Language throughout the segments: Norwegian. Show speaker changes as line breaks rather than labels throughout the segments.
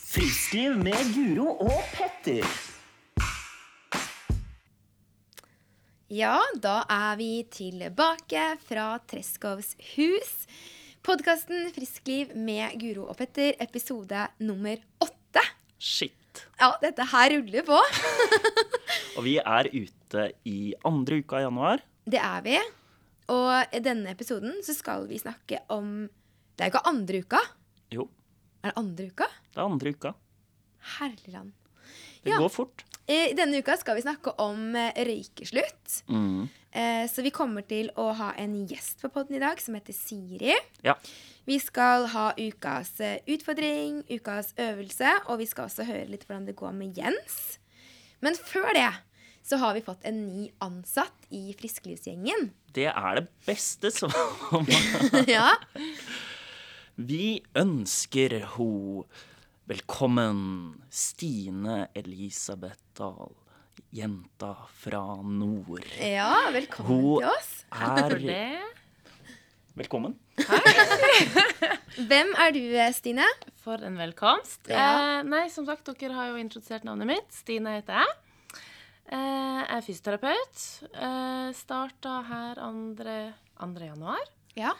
Rushtid med Guro og Petter.
Ja, da er vi tilbake fra Treschows hus. Podkasten Frisk liv med Guro og Petter, episode nummer åtte.
Shit.
Ja, dette her ruller på.
Og vi er ute i andre uka i januar.
Det er vi. Og i denne episoden så skal vi snakke om Det er jo ikke andre uka.
Jo,
Er det andre uka?
det er andre uka.
Herligland.
Det
Ja.
går fort.
I denne uka skal vi snakke om eh, røykeslutt. Eh, Så vi kommer til å ha en gjest på podden i dag som heter Siri.
Ja.
Vi skal ha ukas eh, utfordring, ukas øvelse, og vi skal også høre litt hvordan det går med Jens. Men før det så har vi fått en ny ansatt i Frisklivsgjengen.
Det er det beste som
ja.
Vi ønsker ho velkommen, Stine Elisabeth Dahl, jenta fra nord.
ja, velkommen
Hun-
til oss.
Er
det.
Velkommen.
Hvem er du, eh, Stine?
For en velkomst.
Ja.
Eh, nei, som sagt, dere har jo introdusert navnet mitt. Stine heter jeg. Eh, jeg er fysioterapeut. Eh, Starta her 2. januar.
Ja,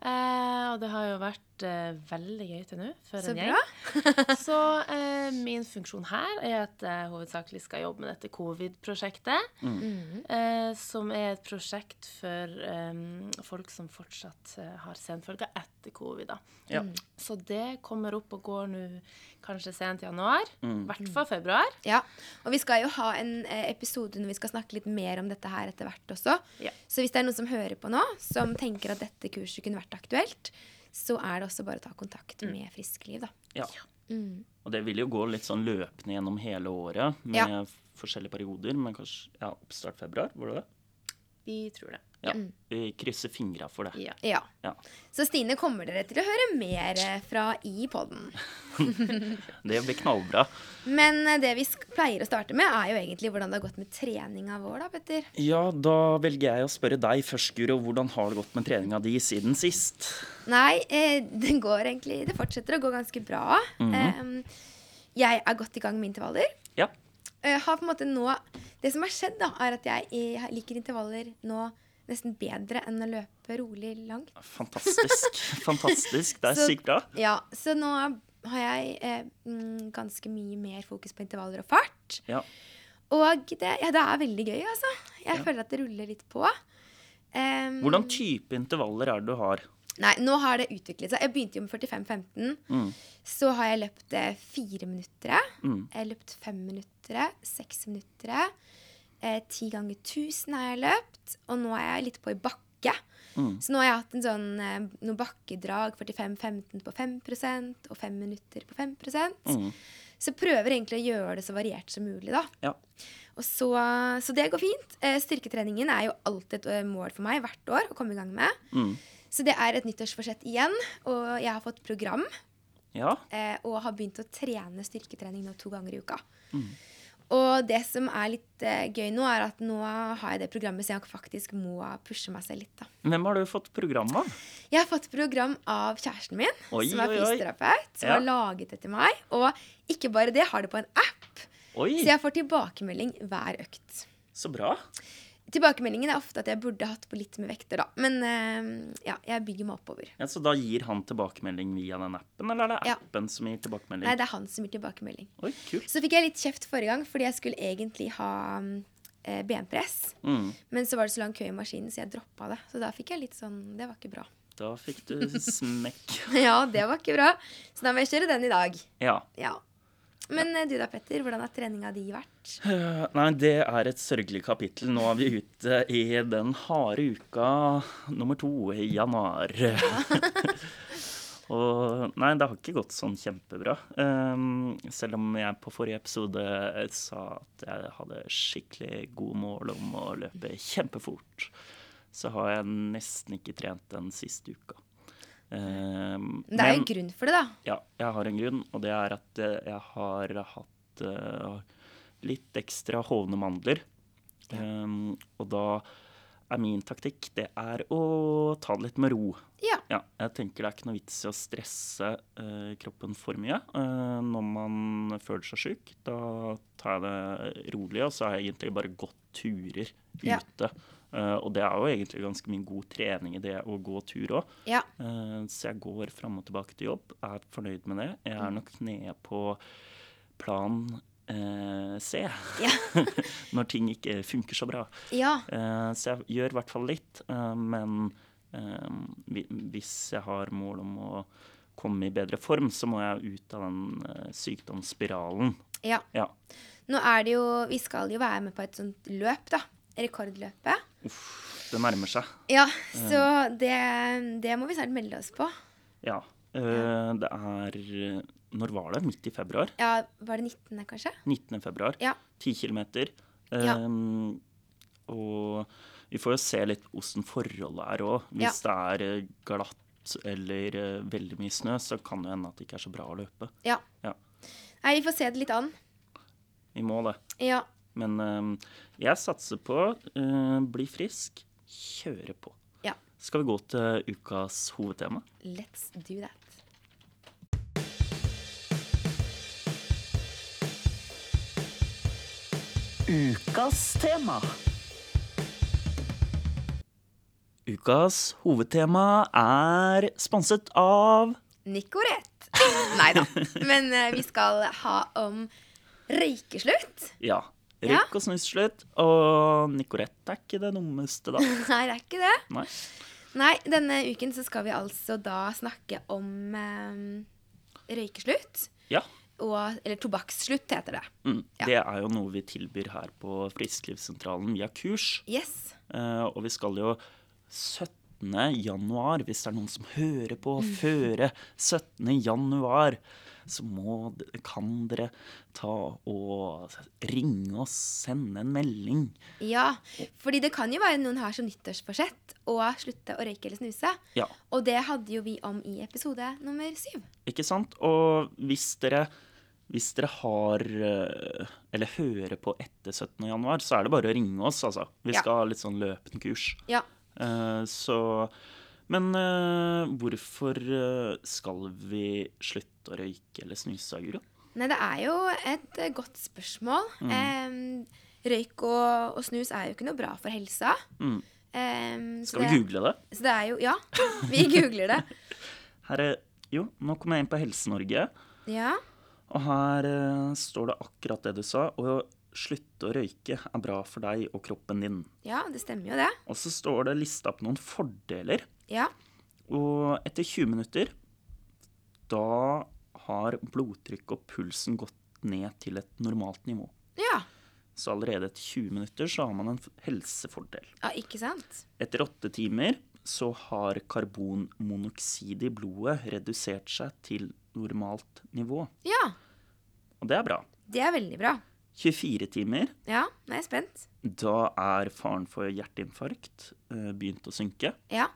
Eh, og det har jo vært eh, veldig gøy til nå. For
Så
en
bra.
gjeng. Så eh, min funksjon her er at jeg hovedsakelig skal jobbe med dette covid-prosjektet. Eh, som er et prosjekt for eh, folk som fortsatt eh, har senfølger etter covid. da.
Ja.
Mm.
Så det kommer opp og går nå kanskje sent i januar. I hvert fall februar.
Ja, og vi skal jo ha en eh, episode når vi skal snakke litt mer om dette her etter hvert også.
Ja.
Så hvis det er noen som hører på nå, som tenker at dette kurset kunne vært aktuelt, så er det også bare å ta kontakt med Friskliv, da.
Ja. Og det vil jo gå litt sånn løpende gjennom hele året med
Ja.
forskjellige perioder. Men kanskje ja, oppstart februar, var det det?
Vi tror det.
Ja. Vi krysser fingra for det.
Ja.
Ja.
Ja.
Så Stine kommer dere til å høre mer eh, fra i podden.
Det blir knallbra.
Men eh, det vi sk pleier å starte med, er jo egentlig hvordan det har gått med treninga vår, da, Petter.
Ja, da velger jeg å spørre deg først, Guro. Hvordan har det gått med treninga di siden sist?
Nei, eh, det går egentlig Det fortsetter å gå ganske bra.
Mhm.
eh, jeg er godt i gang med intervaller.
Ja.
Jeg har på en måte nå Det som har skjedd, da, er at jeg i- liker intervaller nå nesten bedre enn å løpe rolig langt.
Fantastisk. Fantastisk. Det er
Så-
sykt bra.
Ja, Så nå har jeg eh, mm, ganske mye mer fokus på intervaller og fart.
Ja.
Og det, ja, det er veldig gøy, altså. Jeg føler at det ruller litt på. Em,
Hvordan type intervaller er det du har?
Nei, nå har det utviklet seg. Jeg begynte jo med 45-15.
Mm.
Så har jeg løpt eh, fire minuttere. Jeg har løpt fem minuttere, seks minuttere. Eh, ti ganger tusen har jeg løpt. Og nå er jeg litt på i bakke.
Mm.
Så nå har jeg hatt en sånn eh, noen bakkedrag 45-15 på 5 og fem minutter på 5
Mm.
Så prøver egentlig å gjøre det så variert som mulig, da.
Ja.
Og så, så det går fint. Eh, Styrketreningen er jo alltid et eh, mål for meg hvert år å komme i gang med.
Mm.
Så det er et nyttårsforsett igjen. Og jeg har fått program
Ja.
eh, og har begynt å trene styrketrening nå to ganger i uka.
Mm.
Og det som er litt eh, gøy nå, er at nå har jeg det programmet, så jeg faktisk må pushe meg selv litt. da.
Hvem har du fått program av?
Jeg har fått program av kjæresten min,
Oi,
som er
oi, oi.
fysioterapeut. Som
Ja.
har laget det til meg. Og ikke bare det, har det på en app.
Oi,
Så jeg får tilbakemelding hver økt.
så bra.
Tilbakemeldingen er ofte at jeg burde hatt på litt med vekter, da. Men eh, ja, jeg bygger meg oppover.
Ja, så da gir han tilbakemelding via den appen, eller er det
Ja.
appen som gir tilbakemelding?
Nei, det er han som gir tilbakemelding.
Oi, kult.
Så fikk jeg litt kjeft forrige gang, fordi jeg skulle egentlig ha mm, eh, benpress.
Mm.
Men så var det så lang kø i maskinen, så jeg droppa det. Så da fikk jeg litt sånn Det var ikke bra.
Da fikk du smekk.
ja, det var ikke bra. Så da må jeg kjøre den i dag.
Ja.
Ja. Men eh, du da, Petter. Hvordan har treninga di vært?
Eh, Nei, det er et sørgelig kapittel. Nå er vi ute i den harde uka nummer to i januar. Og nei, det har ikke gått sånn kjempebra. Ehm, selv om jeg på forrige episode sa at jeg hadde skikkelig gode mål om å løpe kjempefort, så har jeg nesten ikke trent den siste uka. Ehm,
Det er jo
men-
en grunn for det, da.
ja, jeg har en grunn, og det er at eh, jeg har hatt eh, litt ekstra hovne mandler. Ehm, og da er min taktikk, det er å ta det litt med ro.
Ja.
Ja, jeg tenker det er ikke noe vits i å stresse eh, kroppen for mye eh, når man føler seg syk. Da tar jeg det rolig, og så har jeg egentlig bare gått turer
Ja.
ute. Eh, og det er jo egentlig ganske mye god trening i det å gå tur òg.
Ja.
Eh, Så jeg går fram og tilbake til jobb, er fornøyd med det. Jeg er nok nede på plan eh, C
Ja.
når ting ikke funker så bra.
ja.
Eh, så jeg gjør i hvert fall litt, eh, men eh, hvi- hvis jeg har mål om å komme i bedre form, så må jeg ut av den eh, sykdomsspiralen.
ja.
Ja.
Nå er det jo Vi skal jo være med på et sånt løp, da. Rekordløpet.
Uff, det nærmer seg.
Ja, så det, det må vi snart melde oss på.
Ja. Eh, det er Når var det? Midt i februar?
Ja, Var det 19., kanskje?
19. februar.
Ja.
10 kilometer.
Ja.
Ehm, og vi får jo se litt åssen forholdet er òg.
Ja.
Hvis det er eh, glatt eller eh, veldig mye snø, så kan det hende at det ikke er så bra å løpe.
Ja.
Ja,
Nei, vi får se det litt an.
Vi må det.
Ja.
Men ehm, jeg satser på eh, bli frisk, kjøre på.
ja.
Skal vi gå til ukas hovedtema?
Let's do that.
Ukas tema. Ukas hovedtema er sponset av
Nicorette. Nei da. Men eh, vi skal ha om røykeslutt.
Ja.
Ja.
Røyk og snus slutt. Og Nicorette er ikke det dummeste, da.
Nei, det er ikke det.
Nei.
Nei, denne uken så skal vi altså da snakke om eh, røykeslutt.
Ja.
Og, eller tobakksslutt, heter det.
Mm.
Ja.
Det er jo noe vi tilbyr her på Frisklivssentralen via kurs.
Yes.
Eh, og vi skal jo 17. januar, hvis det er noen som hører på
Mm.
føre 17. januar, så må, d- kan dere ta og ringe oss, sende en melding.
Ja, fordi det kan jo være noen har som nyttårsforsett å slutte å røyke eller snuse.
Ja,
Og det hadde jo vi om i episode nummer syv.
ikke sant? Og hvis dere, hvis dere har eh, Eller hører på etter 17. januar, så er det bare å ringe oss, altså. Vi
Ja.
skal ha litt sånn løpende kurs.
Ja.
Eh, så Men eh, hvorfor eh, skal vi slutte å røyke eller snuse, Guro?
Nei, det er jo et eh, godt spørsmål.
Mm.
Eh, røyk og, og snus er jo ikke noe bra for helsa.
Mm.
Eh, så
Skal vi
det-
google det?
Så det er jo Ja, vi googler det.
Her er, jo, nå kom jeg inn på Helse-Norge,
Ja.
og her eh, står det akkurat det du sa. Å slutte å røyke er bra for deg og kroppen din.
ja, det stemmer jo det.
Og så står det lista opp noen fordeler.
Ja.
Og etter 20 minutter, da har blodtrykket og pulsen gått ned til et normalt nivå.
Ja,
Så allerede etter 20 minutter så har man en f- helsefordel.
ja ikke sant?
Etter åtte timer så har karbonmonoksid i blodet redusert seg til normalt nivå.
Ja,
Og det er bra.
det er veldig bra.
24 timer,
Ja, nå er jeg spent.
da er faren for hjerteinfarkt eh, begynt å synke.
Ja,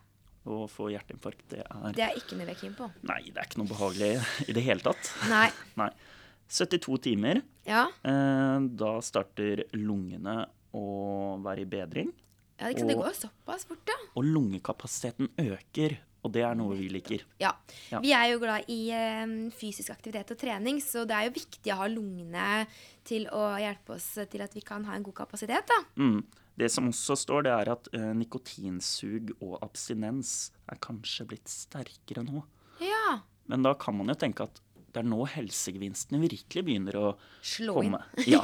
Å få hjerteinfarkt, det er
det er ikke noe vi er keen på.
Nei, det er ikke noe behagelig i det hele tatt.
Nei.
Nei. 72 timer,
Ja,
eh, da starter lungene å være i bedring.
ja ikke sant? det
Og-
går jo såpass fort, da.
Og lungekapasiteten øker, og det er noe vi liker.
Ja.
Ja.
Vi er jo glad i eh, fysisk aktivitet og trening, så det er jo viktig å ha lungene til å hjelpe oss til at vi kan ha en god kapasitet, da.
Mm. Det som også står, det er at eh, nikotinsug og abstinens er kanskje blitt sterkere nå.
Ja.
Men da kan man jo tenke at det er nå helsegevinstene virkelig begynner å
Slå inn.
komme. Ja.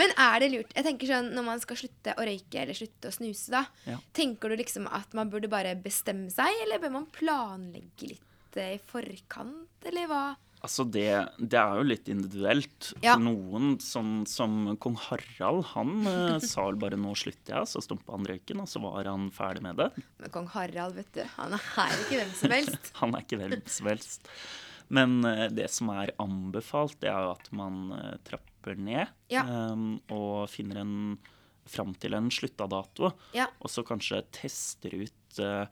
Men er det lurt? Jeg tenker sånn, Når man skal slutte å røyke eller slutte å snuse, da,
Ja.
tenker du liksom at man burde bare bestemme seg, eller bør man planlegge litt eh, i forkant, eller hva?
Altså det, det er jo litt individuelt.
Ja.
For noen, som, som kong Harald, han eh, sa vel bare 'nå slutter jeg', så stumpa han røyken, og så var han ferdig med det.
Men kong Harald, vet du, han er ikke hvem som helst.
Han er ikke hvem som helst. Men eh, det som er anbefalt, det er jo at man eh, trapper ned
Ja.
eh, og finner en fram til en slutta dato.
Ja.
Og så kanskje tester ut eh,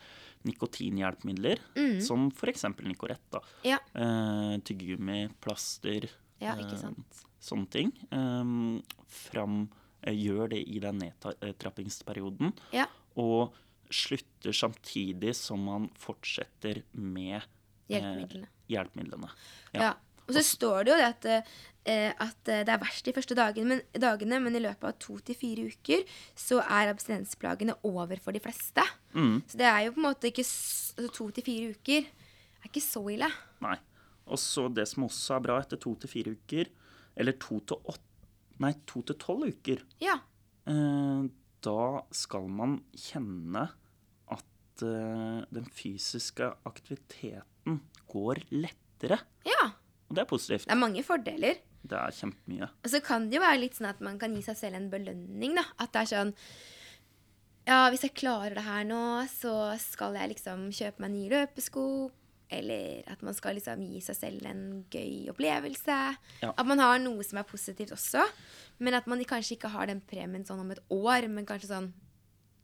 nikotinhjelpemidler, som f.eks. Nicorette. da.
Mm. Ja.
Eh, tyggegummi, plaster,
Ja, ikke
eh,
sant.
sånne ting. eh, ehm, fram eh, gjør det i den nedtrappingsperioden.
Ja.
Og slutter samtidig som man fortsetter med eh,
Hjelpemidlene.
hjelpemidlene. Ja.
Ja. Og så står det jo det at, eh, at det er verst de første dagene men, dagene, men i løpet av to til fire uker så er abstinensplagene over for de fleste. Så det er jo på en måte ikke s- altså, To til fire uker er ikke så ille.
Nei. Og så det som også er bra etter to til fire uker, eller to til åtte Nei, to til tolv uker,
Ja.
eh, da skal man kjenne at eh, den fysiske aktiviteten går lettere.
ja.
Og det er positivt.
Det er mange fordeler.
Det er kjempemye.
Og så kan det jo være litt sånn at man kan gi seg selv en belønning, da. At det er sånn Ja, hvis jeg klarer det her nå, så skal jeg liksom kjøpe meg nye løpesko. Eller at man skal liksom gi seg selv en gøy opplevelse.
Ja.
At man har noe som er positivt også. Men at man kanskje ikke har den premien sånn om et år, men kanskje sånn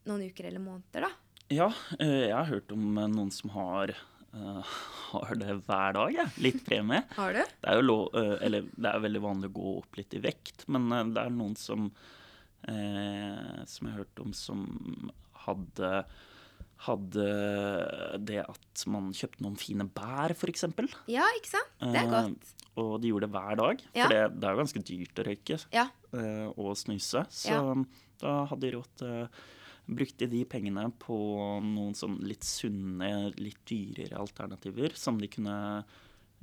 noen uker eller måneder, da.
Ja, eh, jeg har hørt om eh, noen som har, eh, har det hver dag, jeg. Litt premie.
Har du?
Det er jo lov, eh, eller det er veldig vanlig å gå opp litt i vekt, men eh, det er noen som eh, Som jeg har hørt om som hadde hadde det at man kjøpte noen fine bær, f.eks.
Ja, ikke sant? Det
Eh.
er godt.
og de gjorde det hver dag.
Ja.
For det, det er jo ganske dyrt å røyke
Ja.
eh, og snuse. Så
Ja.
da hadde de råd til Brukte de pengene på noen sånn litt sunne, litt dyrere alternativer som de kunne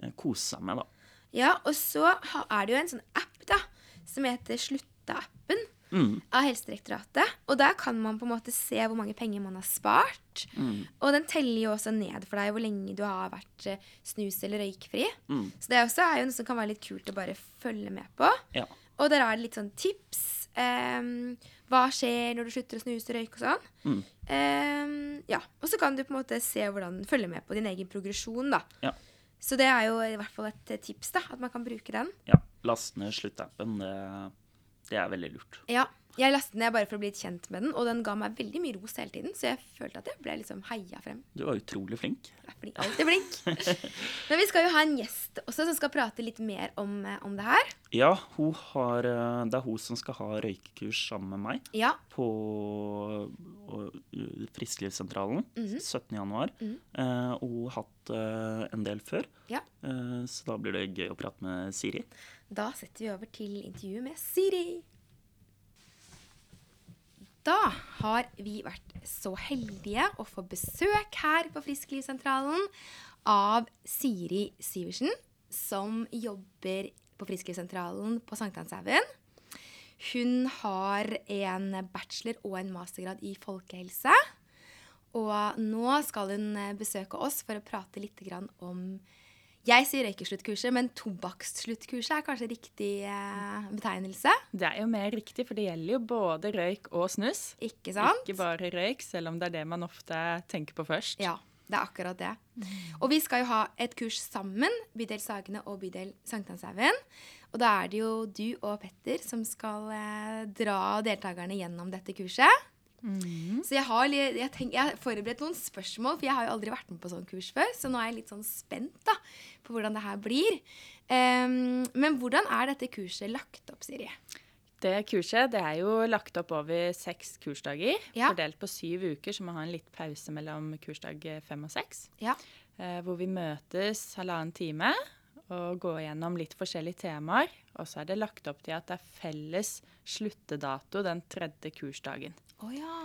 eh, kose seg med, da.
Ja, og så ha- er det jo en sånn app da, som heter Slutta-appen av Helsedirektoratet. Og der kan man på en måte se hvor mange penger man har spart.
Mm.
Og den teller jo også ned for deg hvor lenge du har vært eh, snus- eller røykfri.
Mm.
Så det også er jo noe som kan være litt kult å bare følge med på.
Ja.
Og der er det litt sånn tips. ehm, hva skjer når du slutter å snuse og røyke og sånn.
Mm.
Ehm, ja, Og så kan du på en måte se hvordan følge med på din egen progresjon, da.
Ja.
Så det er jo i hvert fall et eh, tips, da, at man kan bruke den.
ja. Last ned sluttappen. Det, det er veldig lurt.
Ja, Jeg lastet den ned bare for å bli litt kjent med den, og den ga meg veldig mye ros hele tiden, så jeg følte at jeg ble liksom heia frem.
Du var utrolig flink.
Jeg er flink, alltid flink. Men vi skal jo ha en gjest også som skal prate litt mer om, eh, om det her.
Ja, hun har, eh, det er hun som skal ha røykekurs sammen med meg
Ja,
på og, uh, Frisklivssentralen 17.1. Eh, og hun har hatt eh, en del før,
ja.
eh, så da blir det gøy å prate med Siri.
Da setter vi over til intervjuet med Siri. Da har vi vært så heldige å få besøk her på Frisklivssentralen av Siri Sivertsen, som jobber på Frisklivssentralen på Sankthanshaugen. Hun har en bachelor og en mastergrad i folkehelse. Og nå skal hun eh, besøke oss for å prate litt grann om Jeg sier røykesluttkurset, men tobakkssluttkurset er kanskje riktig eh, betegnelse?
Det er jo mer riktig, for det gjelder jo både røyk og snus.
Ikke sant?
Ikke bare røyk, selv om det er det man ofte tenker på først.
Ja, det er akkurat det. Og vi skal jo ha et kurs sammen, bydel Sagene og bydel Sankthanshaugen. Og da er det jo du og Petter som skal eh, dra deltakerne gjennom dette kurset. Så jeg har, li- jeg, tenk, jeg har forberedt noen spørsmål, for jeg har jo aldri vært med på sånn kurs før. Så nå er jeg litt sånn spent da, på hvordan det her blir. Ehm, men hvordan er dette kurset lagt opp, Siri?
Det kurset det er jo lagt opp over seks kursdager,
Ja.
fordelt på syv uker, så man har en litt pause mellom kursdag fem og seks.
Ja.
eh, Hvor vi møtes halvannen time og går gjennom litt forskjellige temaer. Og så er det lagt opp til at det er felles sluttedato den tredje kursdagen.
Å ja.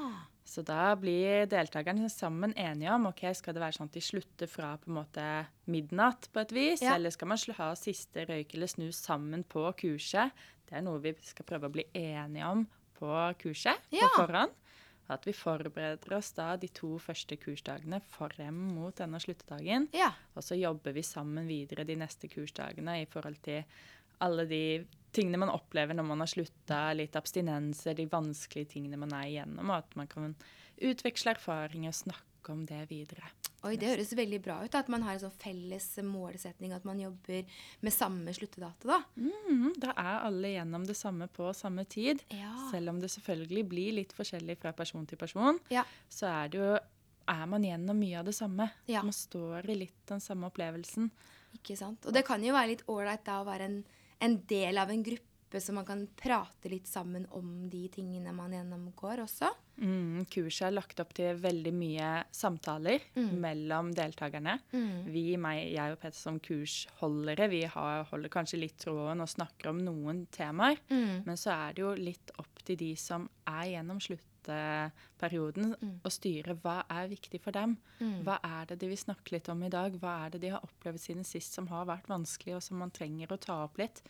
Så da blir deltakerne sammen enige om ok, skal det være sånn at de slutter fra på en måte midnatt på et vis,
Ja.
eller skal man sl- ha siste røyk eller snus sammen på kurset. Det er noe vi skal prøve å bli enige om på kurset
Ja.
på forhånd. At vi forbereder oss da de to første kursdagene frem mot denne sluttedagen.
Ja.
Og så jobber vi sammen videre de neste kursdagene i forhold til alle de tingene man opplever når man har slutta, litt abstinenser, de vanskelige tingene man er igjennom, og at man kan utveksle erfaringer og snakke om det videre.
Oi, Det høres veldig bra ut. At man har en sånn felles målsetning, at man jobber med samme sluttedato. da.
Mhm, da er alle gjennom det samme på samme tid.
Ja.
Selv om det selvfølgelig blir litt forskjellig fra person til person,
Ja.
så er, det jo, er man gjennom mye av det samme.
Ja.
Man står i litt den samme opplevelsen.
Ikke sant? Og det kan jo være litt ålreit da å være en, en del av en gruppe gruppe, så man kan prate litt sammen om de tingene man gjennomgår også.
Mm, kurset er lagt opp til veldig mye samtaler mellom deltakerne. Vi, meg, jeg og Petter som kursholdere, vi har, holder kanskje litt tråden og snakker om noen temaer. Men så er det jo litt opp til de som er gjennom sluttperioden, å styre hva er viktig for dem. Hva er det de vil snakke litt om i dag? Hva er det de har opplevd siden sist som har vært vanskelig, og som man trenger å ta opp litt?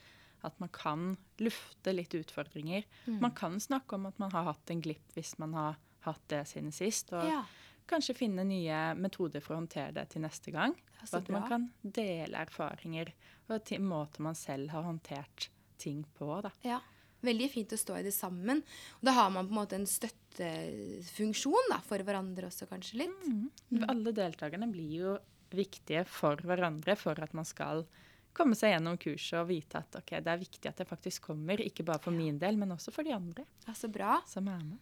At man kan lufte litt utfordringer.
Mm.
Man kan snakke om at man har hatt en glipp hvis man har hatt det siden sist. Og
Ja.
kanskje finne nye metoder for å håndtere det til neste gang.
Ja, så
og at man
bra.
kan dele erfaringer og til måter man selv har håndtert ting på. Da.
Ja. Veldig fint å stå i det sammen. Og da har man på en måte en støttefunksjon da, for hverandre også, kanskje litt. Mm.
Alle deltakerne blir jo viktige for hverandre for at man skal komme seg gjennom kurset og vite at ok, det er viktig at jeg faktisk kommer, ikke bare for min del, men også for de andre
Ja, så bra.
som er med.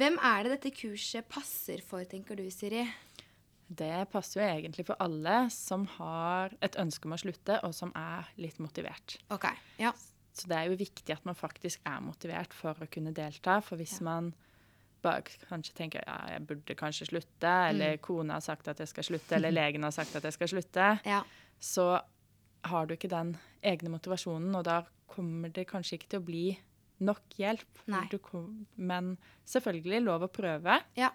Hvem er det dette kurset passer for, tenker du, Siri?
Det passer jo egentlig for alle som har et ønske om å slutte, og som er litt motivert.
Ok, ja.
Så det er jo viktig at man faktisk er motivert for å kunne delta. For hvis man bare k- kanskje tenker ja, jeg burde kanskje slutte,
Mm.
eller kona har sagt at jeg skal slutte, eller legen har sagt at jeg skal slutte,
Ja.
så har du ikke den egne motivasjonen, og da kommer det kanskje ikke til å bli nok hjelp.
Nei.
Du kom, men selvfølgelig lov å prøve.
ja.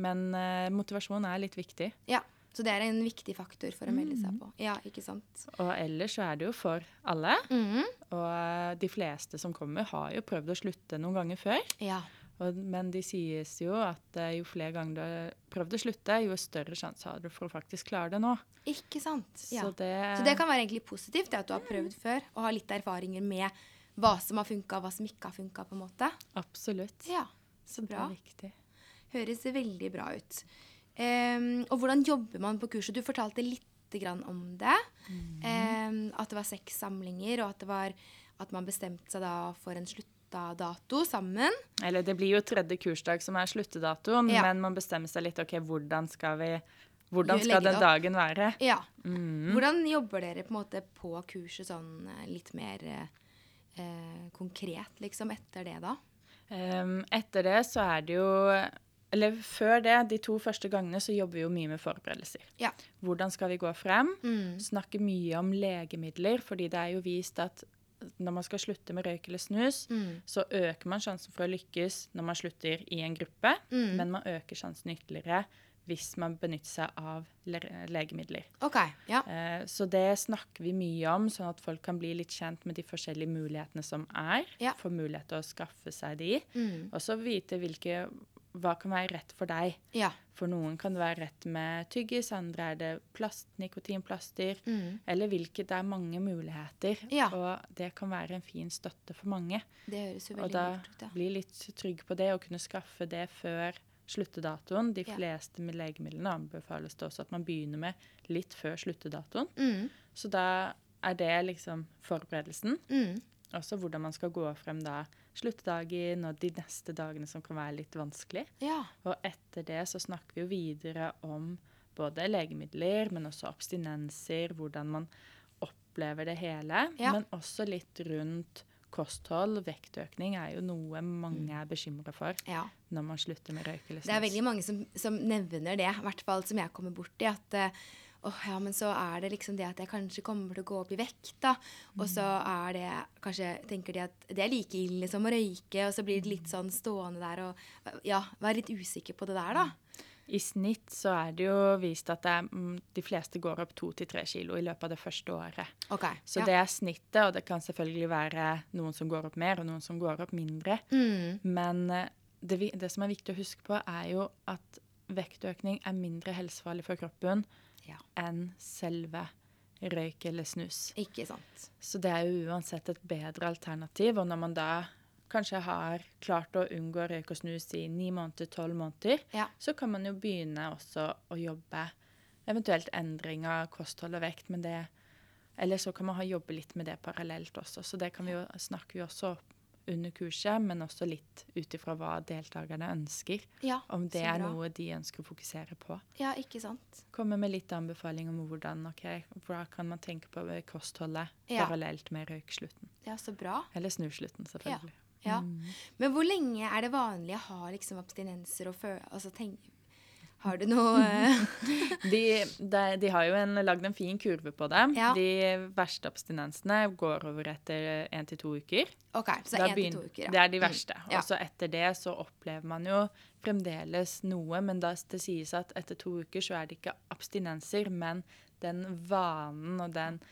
Men eh, motivasjon er litt viktig.
Ja. Så det er en viktig faktor for å melde seg på. Ja, ikke sant?
Og ellers så er det jo for alle.
Mhm.
Og eh, de fleste som kommer, har jo prøvd å slutte noen ganger før.
Ja.
Og, men de sies jo at eh, jo flere ganger du har prøvd å slutte, jo større sjanse har du for å faktisk klare det nå.
Ikke sant? Ja.
Så
Så
det-
det kan være egentlig positivt, det at du har prøvd før og har litt erfaringer med hva som har funka, hva som ikke har funka, på en måte.
Absolutt.
Ja.
så
bra.
Det er viktig.
Høres veldig bra ut. Ehm, og hvordan jobber man på kurset? Du fortalte litt grann om det. Ehm, at det var seks samlinger, og at, det var, at man bestemte seg da for en slutta dato sammen.
Eller det blir jo tredje kursdag som er sluttedatoen,
Ja.
men man bestemmer seg litt ok, hvordan skal vi hvordan
Legge
skal
det
den
opp.
dagen være? Mm.
Ja. Hvordan jobber dere på, en måte på kurset sånn eh, litt mer eh, eh, konkret, liksom, etter det, da?
Ehm, etter det så er det jo Eller før det, de to første gangene, så jobber vi jo mye med forberedelser.
Ja.
Hvordan skal vi gå frem? Snakke mye om legemidler, fordi det er jo vist at når man skal slutte med røyk eller snus, så øker man sjansen for å lykkes når man slutter i en gruppe, men man øker sjansen ytterligere hvis man benytter seg av le legemidler.
OK. Ja.
Eh, Så det snakker vi mye om, sånn at folk kan bli litt kjent med de forskjellige mulighetene som er.
Ja.
Få mulighet til å skaffe seg de.
Mm,
Og så vite hvilke, hva kan være rett for deg.
Ja.
For noen kan det være rett med tyggis, andre er det plast, nikotinplaster. Eller hvilke Det er mange muligheter.
Mm. Ja.
Og det kan være en fin støtte for mange.
Det høres jo
Og
veldig
da
lurt ut, ja.
bli litt trygg på det og kunne skaffe det før sluttedatoen. De
Ja.
fleste med legemidlene anbefales det også at man begynner med litt før sluttedatoen.
Mm,
Så da er det liksom forberedelsen.
mm,
Også hvordan man skal gå frem da sluttedagen og de neste dagene som kan være litt vanskelig.
Ja.
Og etter det så snakker vi jo videre om både legemidler, men også abstinenser, hvordan man opplever det hele.
Ja.
Men også litt rundt kosthold. Vektøkning er jo noe mange er bekymra for
Mm. ja.
når man slutter med røyk eller
Det er veldig
snus.
mange som, som nevner det, i hvert fall som jeg kommer borti. At eh, åh, ja, men så er det liksom det at jeg kanskje kommer til å gå opp i vekt, da. Og så
Mm.
er det kanskje tenker de at det er like ille som å røyke, og så blir det litt sånn stående der og ja, være litt usikker på det der,
Mm.
da.
I snitt så er det jo vist at det er, mm, de fleste går opp to til tre kilo i løpet av det første året.
Ok.
Så
ja.
det er snittet, og det kan selvfølgelig være noen som går opp mer, og noen som går opp mindre.
Mm.
Men eh, det, vi- det som er viktig å huske på, er jo at vektøkning er mindre helsefarlig for kroppen
Ja.
enn selve røyk eller snus.
Ikke sant.
Så det er jo uansett et bedre alternativ. Og når man da kanskje har klart å unngå røyk og snus i ni måneder, tolv måneder,
Ja.
så kan man jo begynne også å jobbe eventuelt endring av kosthold og vekt, men det Eller så kan man ha jobbe litt med det parallelt også. Så det kan vi jo, snakker vi også opp under kurset, men også litt ut ifra hva deltakerne ønsker.
Ja,
om det
så
er
bra.
noe de ønsker å fokusere på.
Ja, ikke sant.
Komme med litt anbefaling om hvordan, ok, hva kan man tenke på ved kostholdet
Ja.
parallelt med røykslutten.
Ja, så bra.
Eller snuslutten, selvfølgelig. Mm.
Ja. Men hvor lenge er det vanlig å ha liksom abstinenser og føle altså, tenk, Har du noe eh,
De, de, de har jo en, lagd en fin kurve på det.
Ja.
De verste abstinensene går over etter én til to uker.
OK, så
Da
én til
begyn-
to uker.
Det
Ja. Mm.
er de verste.
Ja.
Og så etter det så opplever man jo fremdeles noe, men da det sies at etter to uker så er det ikke abstinenser, men den vanen og den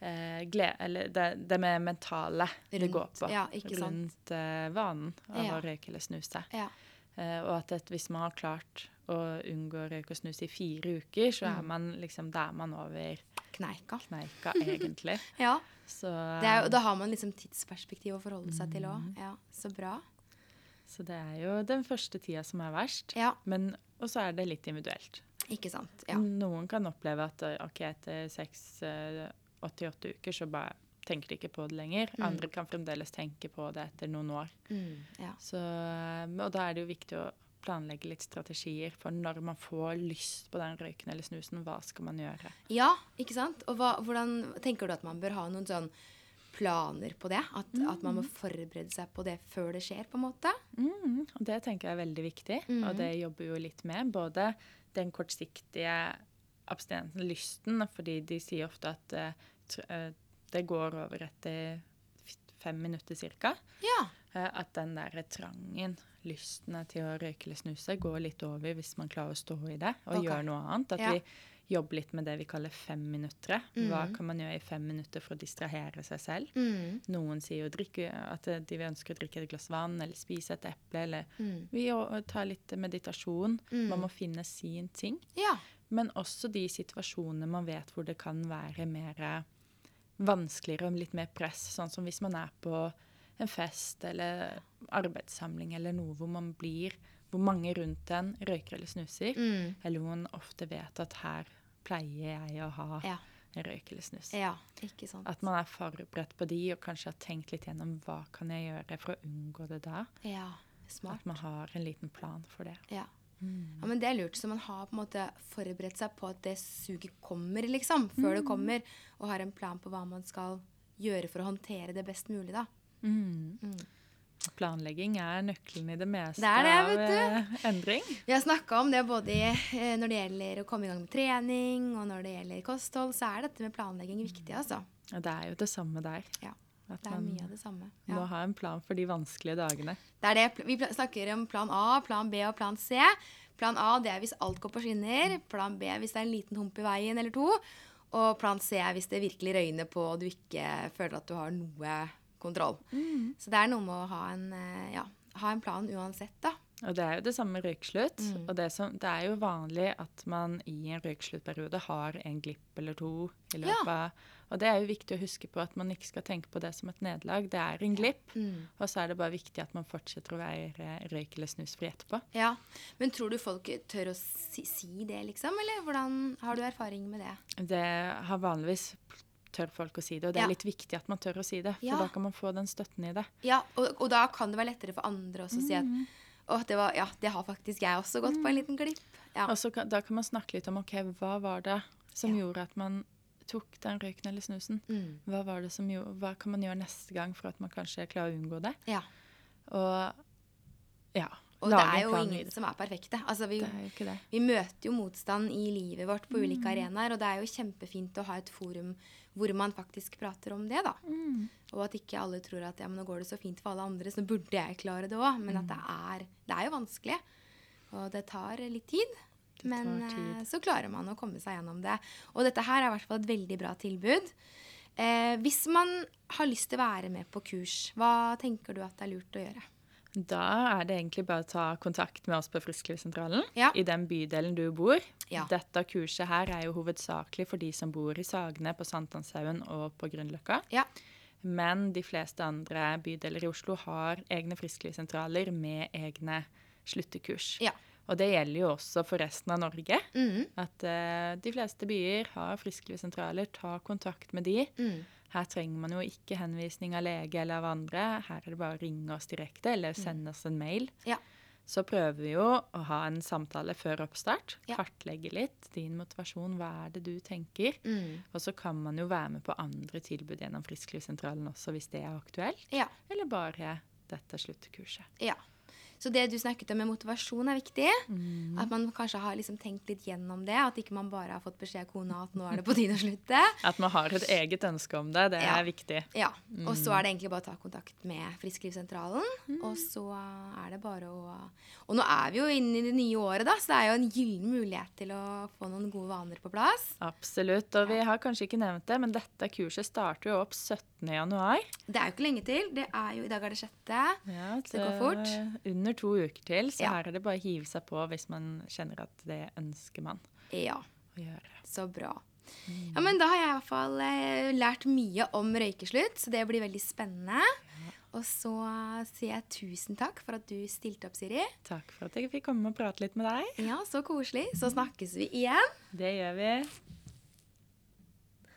eh, glede, eller det, det med mentale det
Rundt,
går på.
ja, ikke sant.
Rundt eh, vanen av
Ja.
å røyke eller snuse.
Ja.
Eh, og at et, hvis man har klart å unngå å røyke og snuse i fire uker, så
Mm.
er man liksom, da er man over
Kneika.
kneika, egentlig.
Ja.
Så,
Det er, jo- da har man liksom tidsperspektiv å forholde seg til
Mm.
òg. Ja, så bra.
så det er jo den første tida som er verst.
Ja,
Men, og så er det litt individuelt.
ikke sant. Ja.
Noen kan oppleve at eh, ok, etter 6-88 uker så bare tenker de ikke på det lenger. Andre kan fremdeles tenke på det etter noen år.
Mm, ja.
Så, eh, og da er det jo viktig å planlegge litt strategier for når man får lyst på den røyken eller snusen, hva skal man gjøre?
ja, ikke sant. Og hva, hvordan tenker du at man bør ha noen sånn planer på det? At, at man må forberede seg på det før det skjer, på en måte?
Mm, og det tenker jeg er veldig viktig,
Mhm.
og det jobber vi jo litt med. Både den kortsiktige abstinensen, lysten, fordi de sier ofte at eh, tr- eh, det går over etter f- fem minutter ca.
Ja.
At den der trangen, lystene til å røyke eller snuse, går litt over hvis man klarer å stå i det og
Ok.
gjøre noe annet. At
Ja.
vi jobber litt med det vi kaller femminuttere. Hva
Mhm.
kan man gjøre i fem minutter for å distrahere seg selv?
Mm,
Noen sier jo drikke, at de ønsker å drikke et glass vann eller spise et eple. Eller
mm,
vi å- tar litt meditasjon. Man må finne sin ting.
ja.
Men også de situasjonene man vet hvor det kan være mer eh, vanskeligere og litt mer press. Sånn som hvis man er på en fest eller arbeidssamling eller noe hvor man blir Hvor mange rundt en røyker eller snuser.
Mm.
Eller hvor man ofte vet at her pleier jeg å ha
Ja.
en røyk eller snus.
Ja, ikke sant.
Ah. At man er forberedt på de, og kanskje har tenkt litt gjennom hva kan jeg gjøre for å unngå det da.
Ja, smart.
At man har en liten plan for det.
Ja.
Mm.
ja, men det er lurt. Så man har på en måte forberedt seg på at det suget kommer, liksom. Før
Mm.
det kommer. Og har en plan på hva man skal gjøre for å håndtere det best mulig, da. Mm.
Mm. Planlegging er nøkkelen i det meste
Det er det, vet
av eh, endring.
Vi har snakka om det både i, eh, når det gjelder å komme i gang med trening, og når det gjelder kosthold, så er dette med planlegging viktig, altså.
Og det er jo det samme der.
Ja.
At
Det er
man
mye av det samme.
må
Ja.
ha en plan for de vanskelige dagene.
Det er det. pl- Vi pla- snakker om plan A, plan B og plan C. Plan A det er hvis alt går på skinner. Plan B hvis det er en liten hump i veien eller to. Og plan C er hvis det virkelig røyner på og du ikke føler at du har noe kontroll. Så det er noe med å ha en, eh, ja, ha en plan uansett, da.
Og det er jo det samme med røykslutt.
Mm.
Og det, som, det er jo vanlig at man i en røyksluttperiode har en glipp eller to i løpet av Og det er jo viktig å huske på at man ikke skal tenke på det som et nederlag. Det er en glipp,
Mm.
og så er det bare viktig at man fortsetter å være røyk- eller snusfri etterpå.
Ja. Men tror du folk tør å si, si det, liksom? Eller hvordan har du erfaring med det?
Det har vanligvis tør folk å si det, og det
Ja.
er litt viktig at man tør å si det. For
Ja.
da kan man få den støtten i det.
Ja, og, og da kan det være lettere for andre også å si at å, det, var, ja, det har faktisk jeg også gått på en liten glipp. Ja.
Og så kan, da kan man snakke litt om ok, hva var det som gjorde at man tok den røyken eller snusen? Hva, var det som gjorde, hva kan man gjøre neste gang for at man kanskje klarer å unngå det?
ja.
Og ja,
Og det er jo ingen som er perfekte. Altså, vi,
Det er Mm. jo ikke det.
vi møter jo motstand i livet vårt på ulike arenaer, og det er jo kjempefint å ha et forum hvor man faktisk prater om det, da.
Mm.
Og at ikke alle tror at ja, men nå går det så fint for alle andre, så burde jeg klare det òg. Men at det
Mm.
er, det er jo vanskelig, og det tar litt tid. Men
tid.
eh, så klarer man å komme seg gjennom det. Og dette her er i hvert fall et veldig bra tilbud. Eh, hvis man har lyst til å være med på kurs, hva tenker du at det er lurt å gjøre?
Da er det egentlig bare å ta kontakt med oss på Frisklivssentralen
Ja.
i den bydelen du bor.
Ja.
Dette kurset her er jo hovedsakelig for de som bor i Sagene, på Sankthanshaugen og på Grünerløkka.
Ja.
Men de fleste andre bydeler i Oslo har egne frisklivssentraler med egne sluttekurs.
Ja.
Og det gjelder jo også for resten av Norge.
Mhm.
At eh, de fleste byer har frisklivssentraler. Ta kontakt med de.
Mm.
Her trenger man jo ikke
Mm.
henvisning av lege eller av andre. Her er det bare å ringe oss direkte eller sende oss en mail.
Ja.
så prøver vi jo å ha en samtale før oppstart.
Ja.
Kartlegge litt din motivasjon, hva er det du tenker?
Mm.
Og så kan man jo være med på andre tilbud gjennom Frisklivssentralen også, hvis det er aktuelt.
Ja.
Eller bare dette sluttkurset.
ja. Så det du snakket om med motivasjon, er viktig. At man kanskje har liksom tenkt litt gjennom det. At ikke man bare har fått beskjed av kona at nå er det på tide å slutte.
At man har et eget ønske om det, det
Ja.
er viktig.
Ja, Og så er det egentlig bare å ta kontakt med Frisklivssentralen. Og så er det bare å Og nå er vi jo inne i det nye året, da, så det er jo en gyllen mulighet til å få noen gode vaner på plass.
Absolutt. Og vi har kanskje ikke nevnt det, men dette kurset starter jo opp 17. januar.
Det er jo ikke lenge til. Det er jo, I dag er det sjette.
Ja,
Så det går fort.
det er eh, Under to uker til, så
Ja.
her er det bare å hive seg på hvis man kjenner at det ønsker man
Ja,
å gjøre.
så bra. Ja, men Da har jeg i hvert fall eh, lært mye om røykeslutt, så det blir veldig spennende. Og så sier jeg tusen takk for at du stilte opp, Siri.
Takk for at jeg fikk komme og prate litt med deg.
Ja, Så koselig. Så snakkes vi igjen.
Det gjør vi.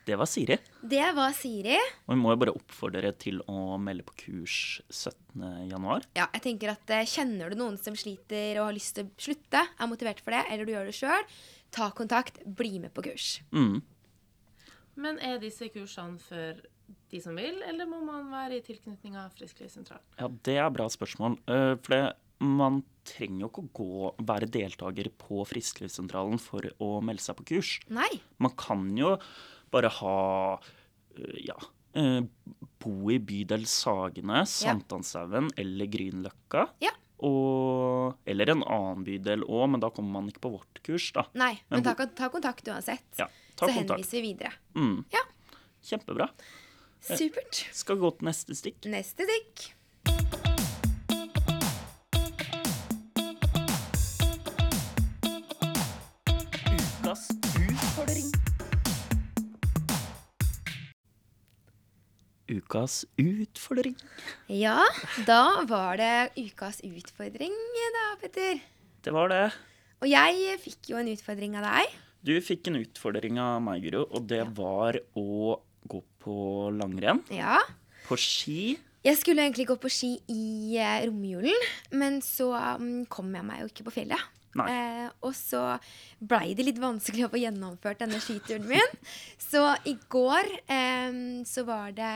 Det var Siri.
Det var Siri.
Og vi må jo bare oppfordre dere til å melde på kurs 17.1.
Ja, jeg tenker at eh, Kjenner du noen som sliter og har lyst til å slutte, er motivert for det, eller du gjør det sjøl, ta kontakt, bli med på kurs.
Mm.
Men er disse kursene for de som vil, eller må man være i tilknytning av Frisklivssentralen?
Ja, det er bra spørsmål. Eh, For det, man trenger jo ikke å gå, være deltaker på Frisklivssentralen for å melde seg på kurs.
Nei.
Man kan jo bare ha eh, ja, eh, bo i bydel Sagene, Sankthanshaugen eller Grünerløkka.
Ja.
Og, eller en annen bydel òg, men da kommer man ikke på vårt kurs, da.
Nei,
Men
men ta,
hvor-
ta kontakt uansett.
Ja, ta
så
kontakt.
henviser vi videre.
Mm.
Ja.
Kjempebra.
Supert.
Skal gå til neste stikk.
Neste stikk.
Ukas utfordring. Ukas utfordring.
Ja, da var det ukas utfordring, da, Petter.
Det var det.
Og jeg fikk jo en utfordring av deg.
Du fikk en utfordring av meg, Guro, og det var å gå på langrenn.
Ja.
På ski.
Jeg skulle egentlig gå på ski i eh, romjulen, men så mm, kom jeg meg jo ikke på fjellet.
Nei.
Eh, og så blei det litt vanskelig å få gjennomført denne skituren min. Så i går eh, så var det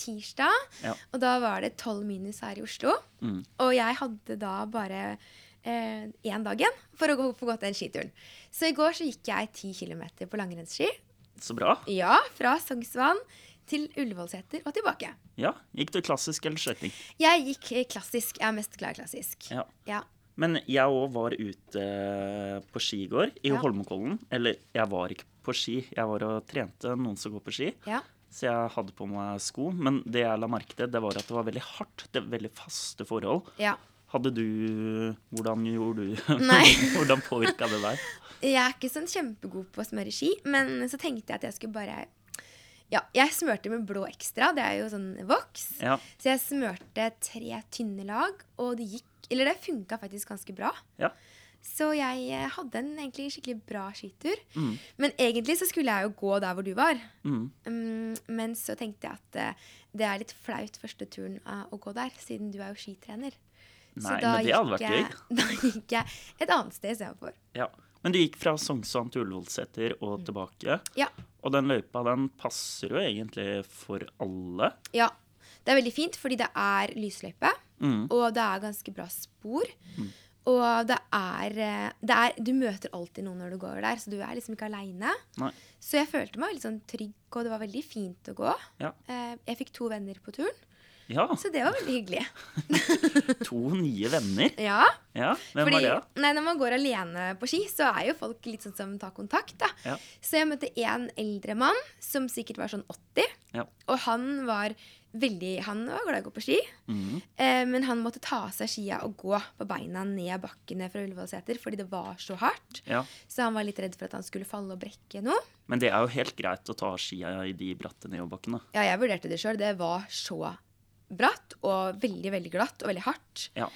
tirsdag,
Ja.
og da var det tolv minus her i Oslo.
Mm.
Og jeg hadde da bare eh, én dag igjen for å gå, få gått den skituren. Så i går så gikk jeg ti kilometer på langrennsski.
Så bra.
Ja, fra Sognsvann til Ullevålseter og tilbake.
Ja. Gikk du klassisk eller skøyting?
Jeg gikk eh, klassisk. Jeg er mest glad i klassisk.
Ja.
Ja.
Men jeg òg var ute eh, på ski i går, i
Ja.
Holmenkollen. Eller, jeg var ikke på ski. Jeg var og trente noen som går på ski.
ja.
Så jeg hadde på meg sko. Men det jeg la merke til, det var at det var veldig hardt. Det var veldig faste forhold.
ja.
Hadde du Hvordan gjorde du
Nei.
Hvordan påvirka det deg?
Jeg er ikke sånn kjempegod på å smøre ski, men så tenkte jeg at jeg skulle bare Ja, jeg smørte med blå ekstra. Det er jo sånn voks.
Ja,
Så jeg smørte tre tynne lag, og det gikk Eller det funka faktisk ganske bra.
ja.
Så jeg eh, hadde en egentlig skikkelig bra skitur.
Mm.
Men egentlig så skulle jeg jo gå der hvor du var.
Mm.
Mm, men så tenkte jeg at eh, det er litt flaut første turen eh, å gå der, siden du er jo skitrener.
Nei, men det hadde vært
jeg, da gikk jeg et annet sted istedenfor.
ja. Men du gikk fra Sognsvann til Ullevålseter og tilbake.
Ja,
Og den løypa den passer jo egentlig for alle.
ja. Det er veldig fint, fordi det er lysløype,
Mm.
og det er ganske bra spor. Og det er, eh, det er Du møter alltid noen når du går der, så du er liksom ikke aleine.
Nei.
Så jeg følte meg litt sånn trygg, og det var veldig fint å gå.
Ja.
Eh, Jeg fikk to venner på turen,
ja.
så det var veldig hyggelig.
To nye venner.
Ja,
Ja, Hvem var det, da?
Nei, Når man går alene på ski, så er jo folk litt sånn som tar kontakt. da.
Ja.
Så jeg møtte en eldre mann som sikkert var sånn 80.
Ja.
Og han var veldig Han var glad i å gå på ski,
Mm.
eh, men han måtte ta av seg skia og gå på beina ned bakkene fra Ullevålseter fordi det var så hardt.
Ja.
Så han var litt redd for at han skulle falle og brekke noe.
Men det er jo helt greit å ta skia i de bratte nedoverbakkene.
Ja, jeg vurderte det sjøl. Det var så bratt og veldig, veldig glatt og veldig hardt.
Ja.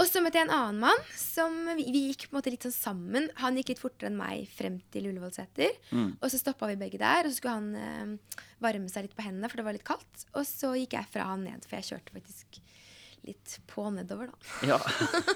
Og så møtte jeg en annen mann som vi, vi gikk på en måte litt sånn sammen. Han gikk litt fortere enn meg frem til Ullevålseter.
Mm.
Og så stoppa vi begge der, og så skulle han eh, varme seg litt på hendene, for det var litt kaldt. Og så gikk jeg fra han ned, for jeg kjørte faktisk litt på nedover, da.
Ja.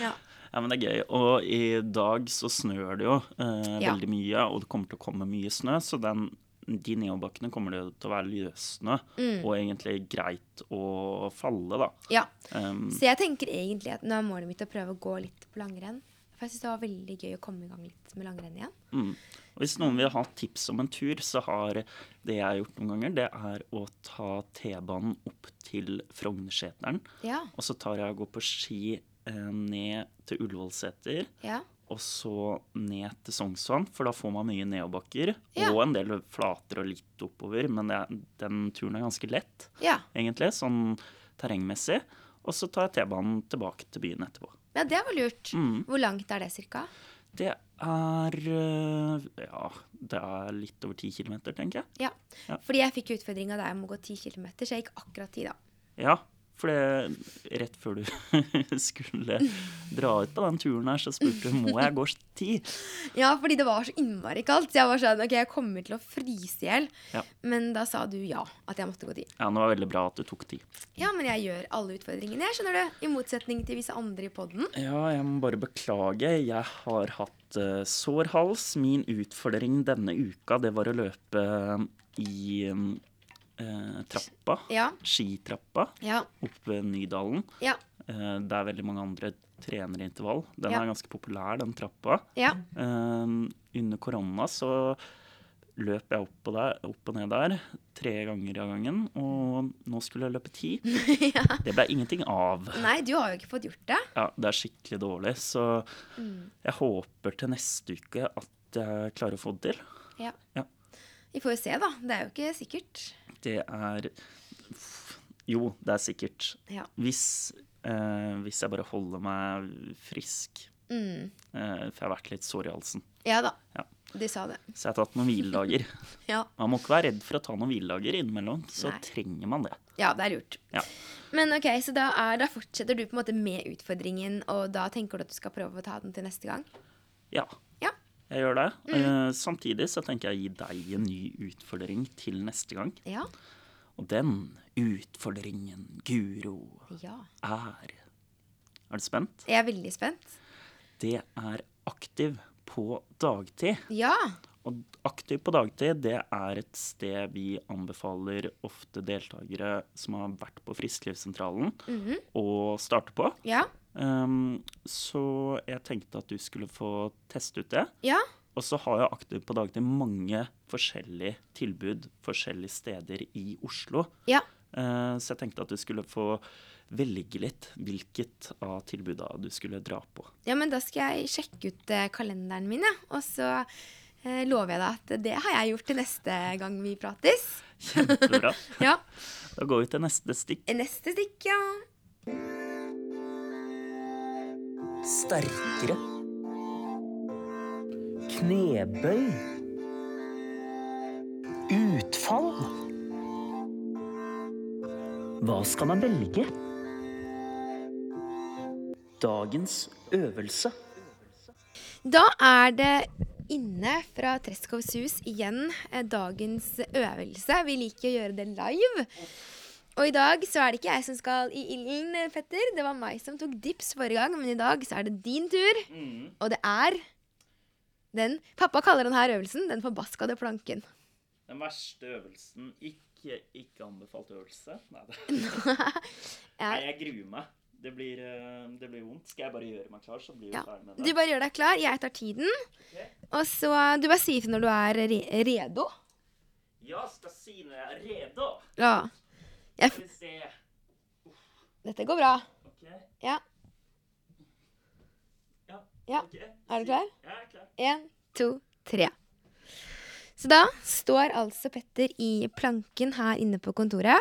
Ja.
ja, men det er gøy. Og i dag så snør det jo eh,
Ja.
veldig mye, og det kommer til å komme mye snø, så den, de nedoverbakkene kommer det jo til å være løssnø,
Mm.
og egentlig greit å falle, da.
ja.
Um,
Så jeg tenker egentlig at nå er målet mitt å prøve å gå litt på langrenn. For jeg syns det var veldig gøy å komme i gang litt med langrenn igjen.
Mm. Og hvis noen vil ha tips om en tur, så har det jeg har gjort noen ganger, det er å ta T-banen opp til Frognerseteren.
Ja.
Og så tar jeg og går på ski eh, ned til Ullevålseter,
Ja.
og så ned til Sognsvann, for da får man mye nedoverbakker.
Ja.
Og en del flater og litt oppover, men det, er- den turen er ganske lett,
ja.
egentlig, sånn terrengmessig. Og så tar jeg T-banen tilbake til byen etterpå.
Ja, det var lurt.
Mm.
Hvor langt er det cirka?
Det er eh, Ja, det er litt over ti kilometer, tenker jeg.
Ja.
Ja.
Fordi jeg fikk utfordring av deg om å gå 10 km, så jeg gikk akkurat 10, da.
Ja, for det rett før du skulle dra ut på den turen her, så spurte du må jeg gå ti.
Ja, fordi det var så innmari kaldt. Så jeg var sånn OK, jeg kommer til å fryse i hjel.
Ja.
Men da sa du ja, at jeg måtte gå 10.
Ja, det var veldig bra at du tok ti.
Ja, men jeg gjør alle utfordringene, jeg, skjønner du. I motsetning til visse andre i poden.
Ja, jeg må bare beklage. Jeg har hatt eh, sår hals. Min utfordring denne uka, det var å løpe i eh, trappa.
Ja.
Skitrappa
Ja.
oppe ved Nydalen.
Ja.
Eh, der veldig mange andre trener intervall. Den
Ja.
er ganske populær, den trappa.
Ja.
Um, under korona så løp jeg opp og, der, opp og ned der tre ganger av gangen, og nå skulle jeg løpe ti. Det ble ingenting av.
Nei, du har jo ikke fått gjort det.
Ja, det er skikkelig dårlig, så
Mm.
jeg håper til neste uke at jeg klarer å få det til.
Ja.
Ja.
Vi får jo se, da. Det er jo ikke sikkert.
Det er Jo, det er sikkert.
Ja.
Hvis, eh, hvis jeg bare holder meg frisk,
Mm.
eh, for jeg har vært litt sår i halsen.
Ja da.
Ja.
Du sa det.
Så jeg har tatt noen hviledager.
Ja.
Man må ikke være redd for å ta noen hviledager innimellom, så
Nei.
trenger man det.
ja, det er lurt.
Ja.
Men ok, så da, er, da fortsetter du på en måte med utfordringen, og da tenker du at du skal prøve å ta den til neste gang?
Ja,
Ja.
jeg gjør det.
Mm.
Eh, samtidig så tenker jeg å gi deg en ny utfordring til neste gang.
Ja.
Og den utfordringen, Guro,
ja.
er Er du spent?
Jeg er veldig spent.
Det er aktiv på dagtid.
Ja.
Og aktiv på dagtid, det er et sted vi anbefaler ofte deltakere som har vært på Frisklivssentralen, å starte på.
Ja.
Um, så jeg tenkte at du skulle få teste ut det.
Ja.
Og så har jeg aktiv på dagtid mange forskjellige tilbud forskjellige steder i Oslo.
Ja.
Eh, Så jeg tenkte at du skulle få velge litt hvilket av tilbuda du skulle dra på.
ja, men da skal jeg sjekke ut eh, kalenderen min, ja. og så eh, lover jeg deg at det har jeg gjort til neste gang vi prates.
Kjempebra.
Ja.
Da går vi til neste stikk.
Neste stikk, ja.
Sterkere. Knebøy. Utfall. Hva skal man velge? Dagens øvelse.
Da er det inne fra Treschows hus igjen eh, dagens øvelse. Vi liker å gjøre det live. Og i dag så er det ikke jeg som skal i ilden, eh, Petter. Det var meg som tok dips forrige gang, men i dag så er det din tur.
Mm,
Og det er den Pappa kaller den her øvelsen den forbaskede planken.
Den verste øvelsen. Ikke, ikke anbefalt øvelse. Nei, det. Nei, jeg gruer meg. Det blir, eh, det blir vondt. Skal jeg bare gjøre meg klar, så blir vi
Ja.
ferdig med
Du
det.
bare gjør deg klar. Jeg tar tiden. Og så eh, Du bare sier ifra når du er re redo.
Ja, Stasine er rede.
Ja. Jeg
Skal
f
vi se.
Dette går bra.
OK.
Ja.
Ja.
Ja.
ok.
Er du klar?
Jeg er klar.
Én, to, tre. Så da står altså Petter i planken her inne på kontoret.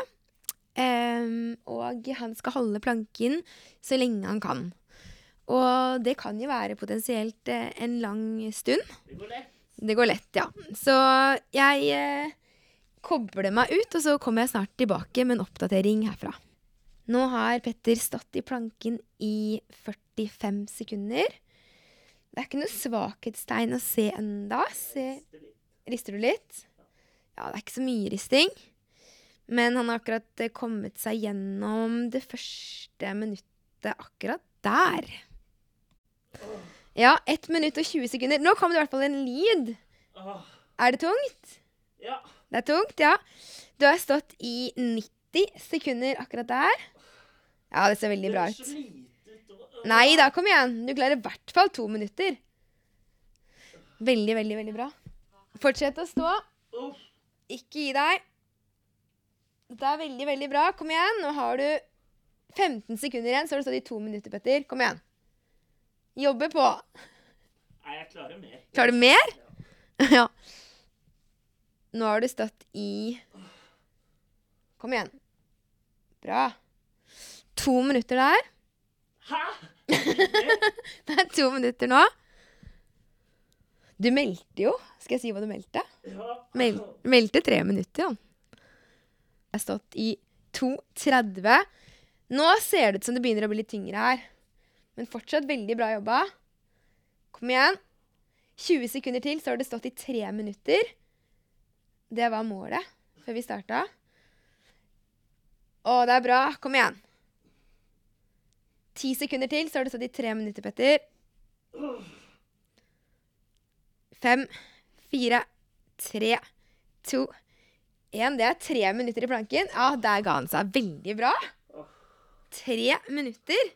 Ehm, og han skal holde planken så lenge han kan. Og det kan jo være potensielt eh, en lang stund.
Det går lett.
Det går lett, ja. Så jeg eh, kobler meg ut, og så kommer jeg snart tilbake med en oppdatering herfra. Nå har Petter stått i planken i 45 sekunder. Det er ikke noe svakhetstegn å se enda. Se, rister du litt? Ja, det er ikke så mye risting. Men han har akkurat eh, kommet seg gjennom det første minuttet akkurat der. Ja, 1 minutt og 20 sekunder. Nå kom det i hvert fall en lyd. Er det tungt?
Ja.
Det er tungt, ja. Du har stått i 90 sekunder akkurat der. Ja, det ser veldig bra ut. Nei da, kom igjen. Du klarer i hvert fall to minutter. Veldig, veldig, veldig bra. Fortsett å stå. Ikke gi deg. Dette er veldig, veldig bra. Kom igjen. Nå har du 15 sekunder igjen, så har du stått i to minutter, Petter. Kom igjen. Jobbe på.
Nei, jeg klarer mer.
Klarer du mer? Ja. Nå har du stått i Kom igjen. Bra. To minutter der.
Hæ?
Det er to minutter nå. Du meldte jo. Skal jeg si hva du meldte?
Ja.
Mel meldte tre minutter, han. Jeg har stått i 2.30. Nå ser det ut som det begynner å bli litt tyngre her. Men fortsatt veldig bra jobba. Kom igjen. 20 sekunder til, så har du stått i tre minutter. Det var målet før vi starta. Å, det er bra. Kom igjen. Ti sekunder til, så har du stått i tre minutter, Petter. Fem, fire, tre, to, én. Det er tre minutter i planken. Ja, der ga han seg. Veldig bra. Tre minutter.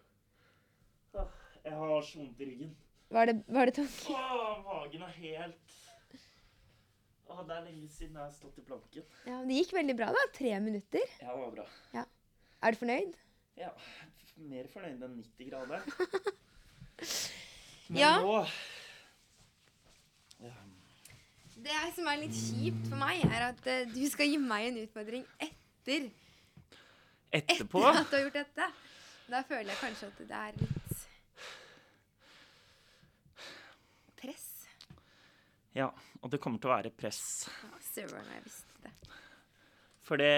Jeg har så vondt i ryggen.
Var det, var det tungt?
Åh, magen er helt Åh, Det er lenge siden jeg har stått i planken.
Ja, men det gikk veldig bra, da. Tre minutter.
Ja, det var bra.
Er du fornøyd?
Ja, Mer fornøyd enn 90 grader.
Ja.
nå
Det som er litt kjipt for meg, er at eh, du skal gi meg en utfordring etter
Etterpå
at du har gjort dette. Da føler jeg kanskje at det er litt press.
Ja, og det kommer til å være press.
Ja, Søren, jeg visste det.
For det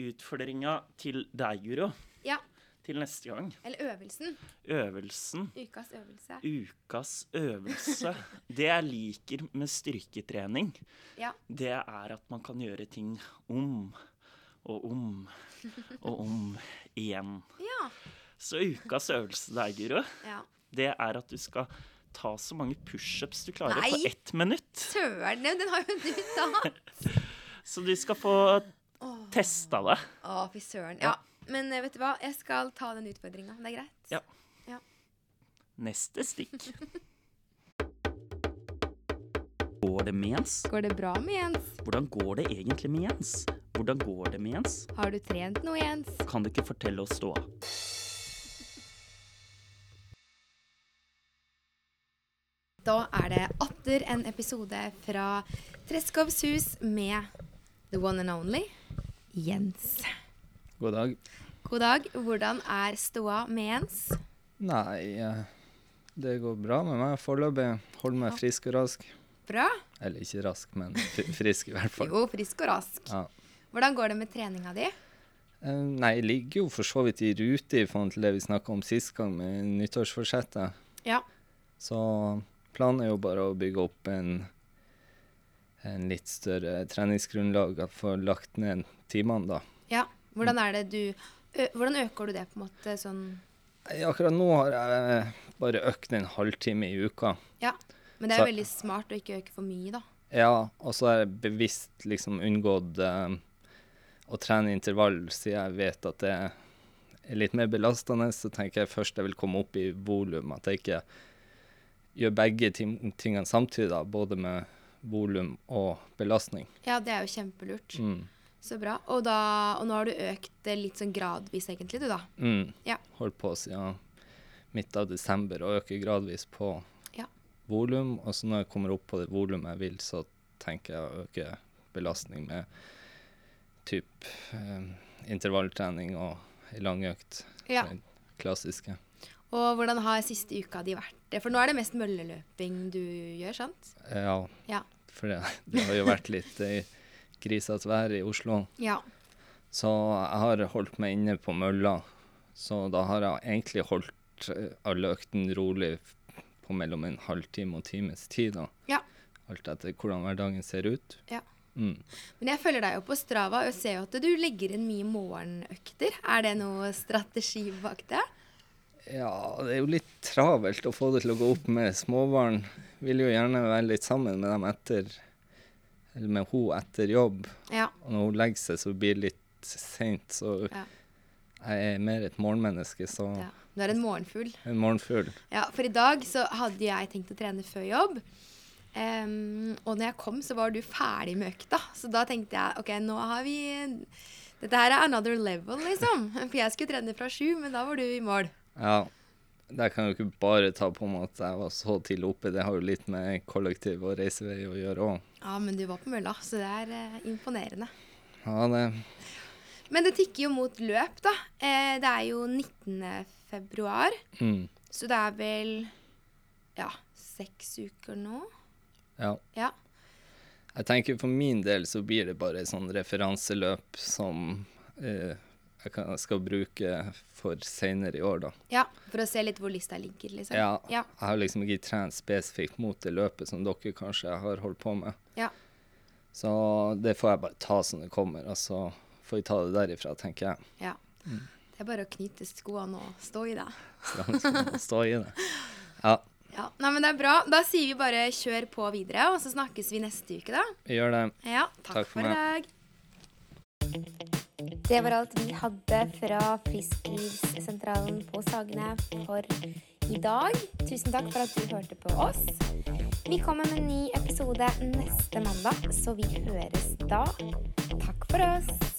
utfordringa til deg, Guro,
Ja,
til neste gang,
eller øvelsen.
øvelsen
Ukas øvelse.
Ukas øvelse. Det jeg liker med styrketrening,
Ja.
det er at man kan gjøre ting om og om og om igjen.
Ja.
Så ukas øvelse der, Guro,
ja.
det er at du skal ta så mange pushups du klarer på
Nei.
ett minutt.
Søren, den har jo du tatt!
Så du skal få testa det.
Å, fy søren. Ja. Men eh, vet du hva, jeg skal ta den utfordringa. Det er greit?
Ja. Neste stikk. Går det med ens?
Går det bra med Jens?
Hvordan går det egentlig med Jens? Hvordan går det med Jens?
Har du trent noe, Jens?
Kan du ikke fortelle oss ståa?
Da er det atter en episode fra Treskovs hus med the one and only Jens.
God dag.
God dag. Hvordan er ståa med Jens?
Nei, eh, det går bra med meg foreløpig. Holder meg frisk og rask.
Bra?
Eller ikke rask, men fri- frisk i hvert fall.
Jo, frisk og rask.
Ja.
Hvordan går det med treninga di?
Eh, Nei, jeg ligger jo for så vidt i rute i forhold til det vi snakka om sist gang, med nyttårsforsettet.
Ja.
Så planen er jo bare å bygge opp en, en litt større treningsgrunnlag, at få lagt ned timene, da.
Ja. Hvordan er det du ø, Hvordan øker du det på en måte sånn
Nei, Akkurat nå har jeg eh, bare økt en halvtime i uka.
Ja. Men det er jo
Så-
veldig smart å ikke øke for mye, da.
Ja, og så har jeg bevisst liksom unngått eh, å trene intervall, siden jeg vet at det er litt mer belastende. Så tenker jeg først jeg vil komme opp i volum, at jeg ikke gjør begge tim- tingene samtidig, da, både med volum og belastning.
Ja, det er jo kjempelurt.
Mm.
Så bra. Og, da, og nå har du økt det litt sånn gradvis, egentlig, du, da.
Mm.
Ja.
Holdt på siden midt av desember og øker gradvis på
Ja.
volum. Og så når jeg kommer opp på det volumet jeg vil, så tenker jeg å øke belastning med typ eh, intervalltrening og ei lang økt.
Ja.
Det Klassiske.
Og hvordan har siste uka di vært? det? For nå er det mest mølleløping du gjør, sant?
Ja,
Ja.
for det, det har jo vært litt eh, grisete vær i Oslo.
Ja.
Så jeg har holdt meg inne på mølla. Så da har jeg egentlig holdt eh, alle øktene rolig f- på mellom en halvtime og times tid. da.
Ja.
Alt etter hvordan hverdagen ser ut.
Ja.
Mm.
Men jeg følger deg jo på Strava og ser jo at du legger inn mye morgenøkter. Er det noe strategi bak det?
Ja, det er jo litt travelt å få det til å gå opp med småbarn. Vil jo gjerne være litt sammen med dem etter Eller med hun etter jobb.
Ja.
Og når hun legger seg, så blir det litt seint, så
Ja.
jeg er mer et morgenmenneske, så
ja. Du er en morgenfugl.
en morgenfugl.
Ja, for i dag så hadde jeg tenkt å trene før jobb. Em, og når jeg kom, så var du ferdig med økta. Så da tenkte jeg OK, nå har vi Dette her er another level, liksom. For jeg skulle trene fra sju, men da var du i mål.
Ja. Der kan jeg jo ikke bare ta på meg at jeg var så tidlig oppe. Det har jo litt med kollektiv og reisevei å gjøre òg.
Ja, men du var på mølla, så det er eh, imponerende.
Ja, det
Men det tikker jo mot løp, da. Eh, det er jo 19. februar,
mm.
så det er vel ja, seks uker nå.
Ja.
Ja.
Jeg tenker for min del så blir det bare et sånn referanseløp som eh, jeg kan, skal bruke for seinere i år, da.
ja. For å se litt hvor lista ligger, liksom.
Ja,
Ja.
Jeg har liksom ikke trent spesifikt mot det løpet som dere kanskje har holdt på med.
Ja.
Så det får jeg bare ta som det kommer, og så får vi ta det derifra, tenker jeg.
ja.
Mm.
Det er bare å knyte skoene og stå i det.
Så jeg skal stå i det. Ja,
Ja. Nei, men det er bra. Da sier vi bare kjør på videre, og så snakkes vi neste uke, da.
vi gjør det.
Ja, takk,
Takk for
for i
meg.
dag.
Det var alt vi hadde fra Frisklivssentralen på Sagene for i dag. Tusen takk for at du hørte på oss. Vi kommer med en ny episode neste mandag, så vi høres da. Takk for oss.